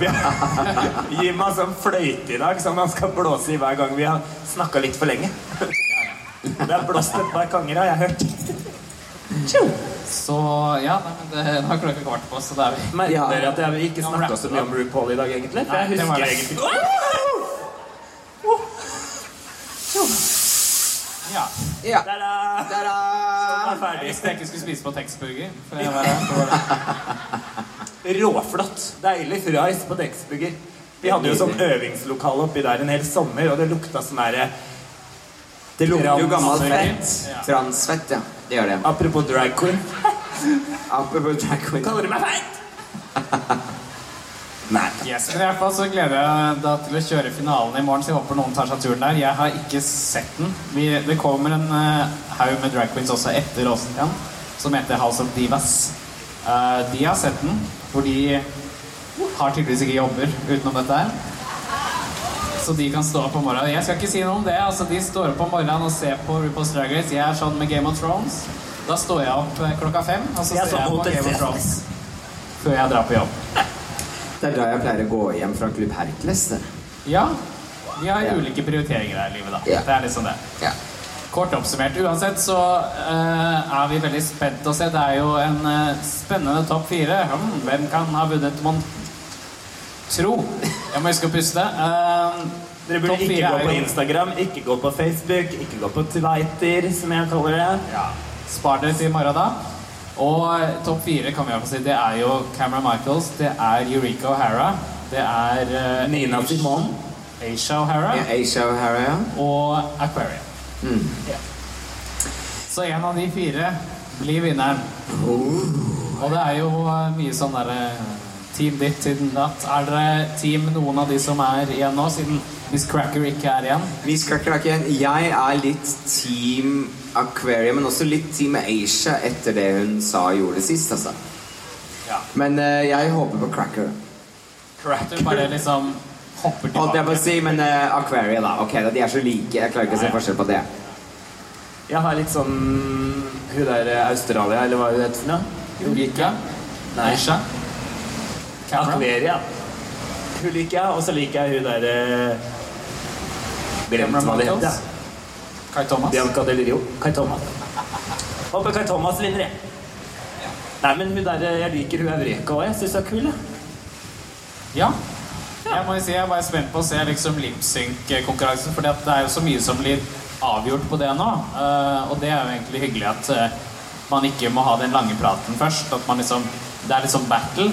S2: Gi meg sånn fløyte i dag som man skal blåse i hver gang vi har snakka litt for lenge. Det er blåst et par ganger, har jeg hørt.
S1: Så ja, nei, men det, nå har klokka kvart på, så da er vi
S2: Merker
S3: Ja.
S2: dere at jeg ikke snakka så mye om RuPaul i dag, egentlig? For
S1: Nei,
S2: jeg
S1: det var
S2: husker
S1: det.
S2: egentlig
S1: Ja.
S3: ja.
S2: Ta-da!
S3: Ta-da!
S2: Jeg er
S1: Jeg
S2: ferdig.
S1: visste jeg ikke skulle spise på Texburger. For jeg var, for det var
S2: Råflott. Deilig fries på Dexburger. eh, Vi hadde jo sånn øvingslokale oppi der en hel sommer, og det lukta sånn derre
S3: Det lukter jo gammel
S1: Transfett.
S3: fett. Transfett, ja. Det gjør det.
S2: Apropos drag queen.
S3: Apropos drag queen.
S2: Kaller du meg feit? Nei.
S1: Yes, men i hvert fall så gleder jeg deg til å kjøre finalen i morgen, så jeg håper noen tar seg turen der. Jeg har ikke sett den. Vi, det kommer en eh, haug med drag queens også etter Rosenkrantz, som heter House of Divas. Eh, de har sett den, for de har tydeligvis ikke jobber utenom dette her. Så de kan stå opp om morgenen. Jeg skal ikke si noe om det. altså De står opp om morgenen og ser på RuPaul's Drag Race. Jeg er sånn med Game of Thrones. Da står jeg opp eh, klokka fem, og så
S2: Jeg er
S1: ser
S2: sånn
S1: jeg på
S2: mot et
S1: Game of
S2: sett.
S1: Thrones før jeg drar på jobb.
S3: Det er da jeg pleier å gå hjem fra Klubb Hercules. det.
S1: Ja. Vi har
S3: Ja.
S1: ulike prioriteringer her i livet, da.
S3: Ja.
S1: Det er liksom det.
S3: Ja.
S1: Kort oppsummert. Uansett så eh, er vi veldig spent å se. Det er jo en eh, spennende topp fire. Hm, hvem kan ha vunnet, mon tro? Jeg må huske å puste. Eh,
S2: Dere burde
S1: topp fire
S2: ikke gå
S1: er
S2: på
S1: jo-
S2: Instagram, ikke gå på Facebook, ikke gå på Twitter, som jeg kaller det.
S1: Ja. Spar dere til i morgen, da. Og eh, topp fire kan vi i hvert fall si. Det er jo Cameron Michaels, det er Eureka O'Hara, det er eh,
S2: Nina Simone.
S1: Aisha O'Hara
S3: Ja, Asia O'Hara, ja.
S1: og Aquarium.
S3: Mm.
S1: Så en av de fire blir vinneren. Og det er jo eh, mye sånn derre Team ditt, team datt. Er dere team noen av de som er igjen nå, siden Miss Cracker ikke er igjen?
S3: Vi skal krakke igjen. Jeg er litt Team Aquarium, men også litt Team Asia etter det hun sa og gjorde sist, altså.
S1: Ja.
S3: Men eh, jeg håper på Cracker.
S1: Cracker bare liksom hopper
S3: Holdt jeg på å
S1: tilbake.
S3: si, men eh, Aquaria, da. Ok, da, De er så like. Jeg klarer ikke å se
S1: Nei.
S3: forskjell på det.
S2: Jeg har litt sånn Hun der eh, Australia, eller hva hun heter for noe?
S1: Ulrika? Aisha? Cameron?
S2: Akveria. Hun liker jeg, og så liker jeg hun eh, derre Glemt hva det heter.
S1: Michaels?
S2: ja.
S1: Kai Thomas?
S2: Bianca Del Rio. Kai Thomas. Håper Kai Thomas vinner, jeg. Nei, men hun der, eh, jeg liker hun Eureka òg. Jeg syns hun er kul. Jeg.
S1: Ja. Jeg må jo si jeg er bare spent på å se liksom lipsync-konkurransen, for det er jo så mye som blir avgjort på det nå. Eh, og det er jo egentlig hyggelig at eh, man ikke må ha den lange praten først. At man liksom Det er liksom battle.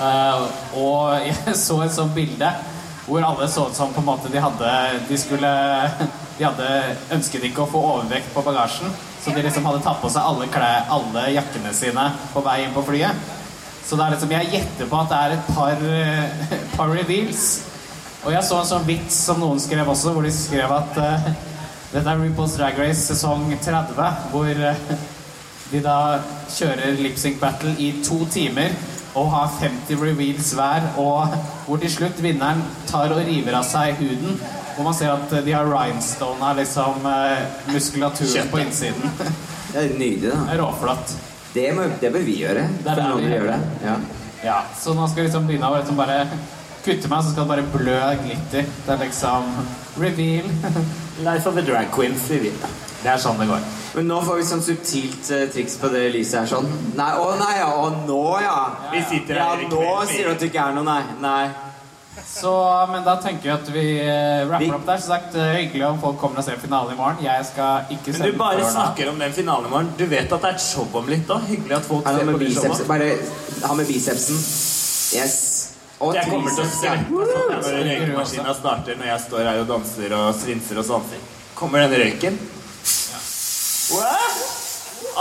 S1: Eh, og jeg så et sånt bilde hvor alle så ut som på en måte de hadde De skulle De hadde ønsket ikke å få overvekt på bagasjen, så de liksom hadde tatt på seg alle klær, alle jakkene sine på vei inn på flyet. Så det er liksom, jeg gjetter på at det er et par, eh, par reveals. Og jeg så en sånn vits som noen skrev også, hvor de skrev at eh, dette er RuPaul's Drag Race sesong 30, hvor eh, de da kjører lip-sync battle i to timer og har 50 reveals hver, og hvor til slutt vinneren tar og river av seg huden. Hvor man ser at eh, de har rhinestona liksom eh, muskulaturen på innsiden.
S3: Det er nydelig, da.
S1: Det er råflott.
S3: Det, må, det bør vi gjøre.
S1: er
S3: For
S1: der
S3: noen
S1: vi-
S3: gjør det. Ja.
S1: Ja, så nå skal jeg liksom begynne å liksom bare kutte meg, så skal det bare blø glitter. Det er liksom reveal.
S2: Life of the sånn drag queens. Vi vil.
S1: Det er sånn det går.
S3: Men nå får vi sånn subtilt eh, triks på det lyset her sånn. Nei, å nei, ja. Å nå, ja.
S2: Vi sitter
S3: Ja,
S2: her i
S3: nå
S2: kveld.
S3: sier du at det ikke er noe, nei. Nei.
S1: Så, men da tenker vi at vi eh,
S3: Vi-
S1: rapper opp der. Som sagt, eh, hyggelig om folk kommer og ser finalen i morgen. Jeg skal ikke se
S2: Men du
S1: den
S2: bare
S1: før da.
S2: snakker om den finalen i morgen. Du vet at det er et show om litt, da? Hyggelig at folk
S3: Han
S2: ser
S3: med
S2: på det
S3: biceps.
S2: showet.
S3: Bare ha med bicepsen. Yes. Og
S2: Jeg kommer til å
S3: triceps, ja.
S2: svette sånn jeg, når røykemaskina starter, når jeg står her og danser og svinser og sanser. Kommer den røyken? What?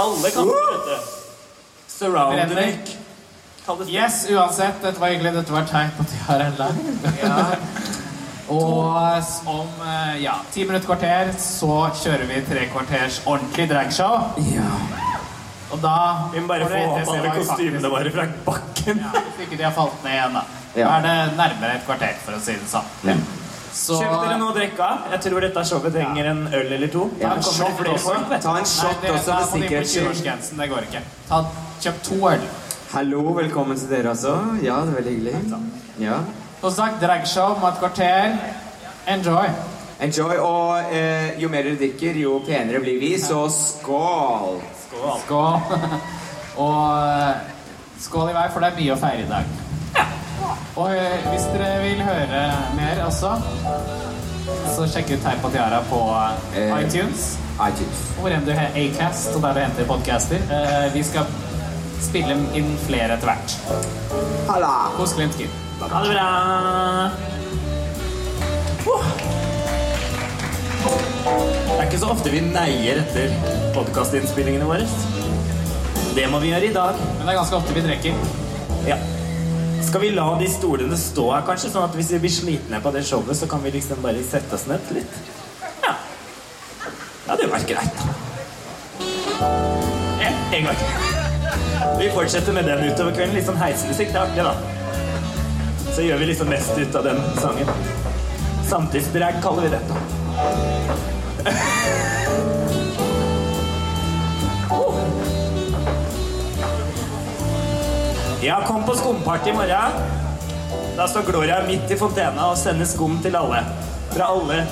S2: Alle kan det, vet du. Surround
S1: Brenner.
S2: røyk. Kall det
S1: Yes, uansett. Dette var hyggelig. Dette var et tegn på at jeg har en lang. Og om eh, ja, ti minutter kvarter så kjører vi tre kvarters ordentlig dragshow.
S3: Ja.
S1: Og da
S2: Vi må bare
S1: får
S2: få
S1: dere
S2: opp
S1: se
S2: alle
S1: hva vi faktisk-
S2: kostymene våre fra bakken.
S1: Ja, hvis ikke de har falt ned igjen, da. Da
S3: Ja.
S1: er det nærmere et kvarter, for å si det sånn.
S3: Ja.
S1: Så
S2: Kjøp dere noe å drikke av. Jeg tror dette showet trenger en øl eller to.
S3: Ja,
S2: Da kommer det
S1: shot
S2: flere
S1: også.
S2: folk, vet du.
S3: Ta en
S1: Nei,
S3: shot
S1: det,
S3: også,
S1: da
S3: for
S1: må de på
S3: sikkerhets skyld.
S1: 20-årsgrensen. Det går ikke. Ta, kjøp to øl.
S3: Hallo, velkommen til dere også. Ja, det er veldig hyggelig. Ja.
S1: Som sagt, dragshow om et kvarter. Enjoy.
S3: Enjoy, og eh, jo mer dere drikker, jo penere blir vi, så skål!
S1: Skål. Og eh, skål i vei, for det er mye å feire i dag. Og eh, hvis dere vil høre mer også, så sjekk ut Teip og Tiara på eh,
S3: Eh.
S1: iTunes.
S3: iTunes.
S1: Hvor enn du har Acast, og der du henter podcaster. Eh, vi skal spille inn flere etter hvert.
S3: Halla!
S1: Hos Glimt Kid.
S2: Ha det bra. Uh. Det er ikke så ofte vi neier etter podkastinnspillingene våre. Det må vi gjøre i dag.
S1: Men det er ganske ofte vi drikker.
S2: Ja. Skal vi la de stolene stå her, kanskje? Sånn at hvis vi blir slitne på det showet, så kan vi liksom bare sette oss ned litt? Ja. Ja, det var greit, da. En, en gang til. Vi fortsetter med den utover kvelden. Litt sånn heismusikk. Det er artig, da. Så gjør vi liksom mest ut av den sangen. Samtidsbrag kaller vi det. da. Ja, kom på skumparty i morgen. Da står Gloria midt i fontena og sender skum til alle. Fra alle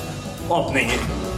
S2: åpninger.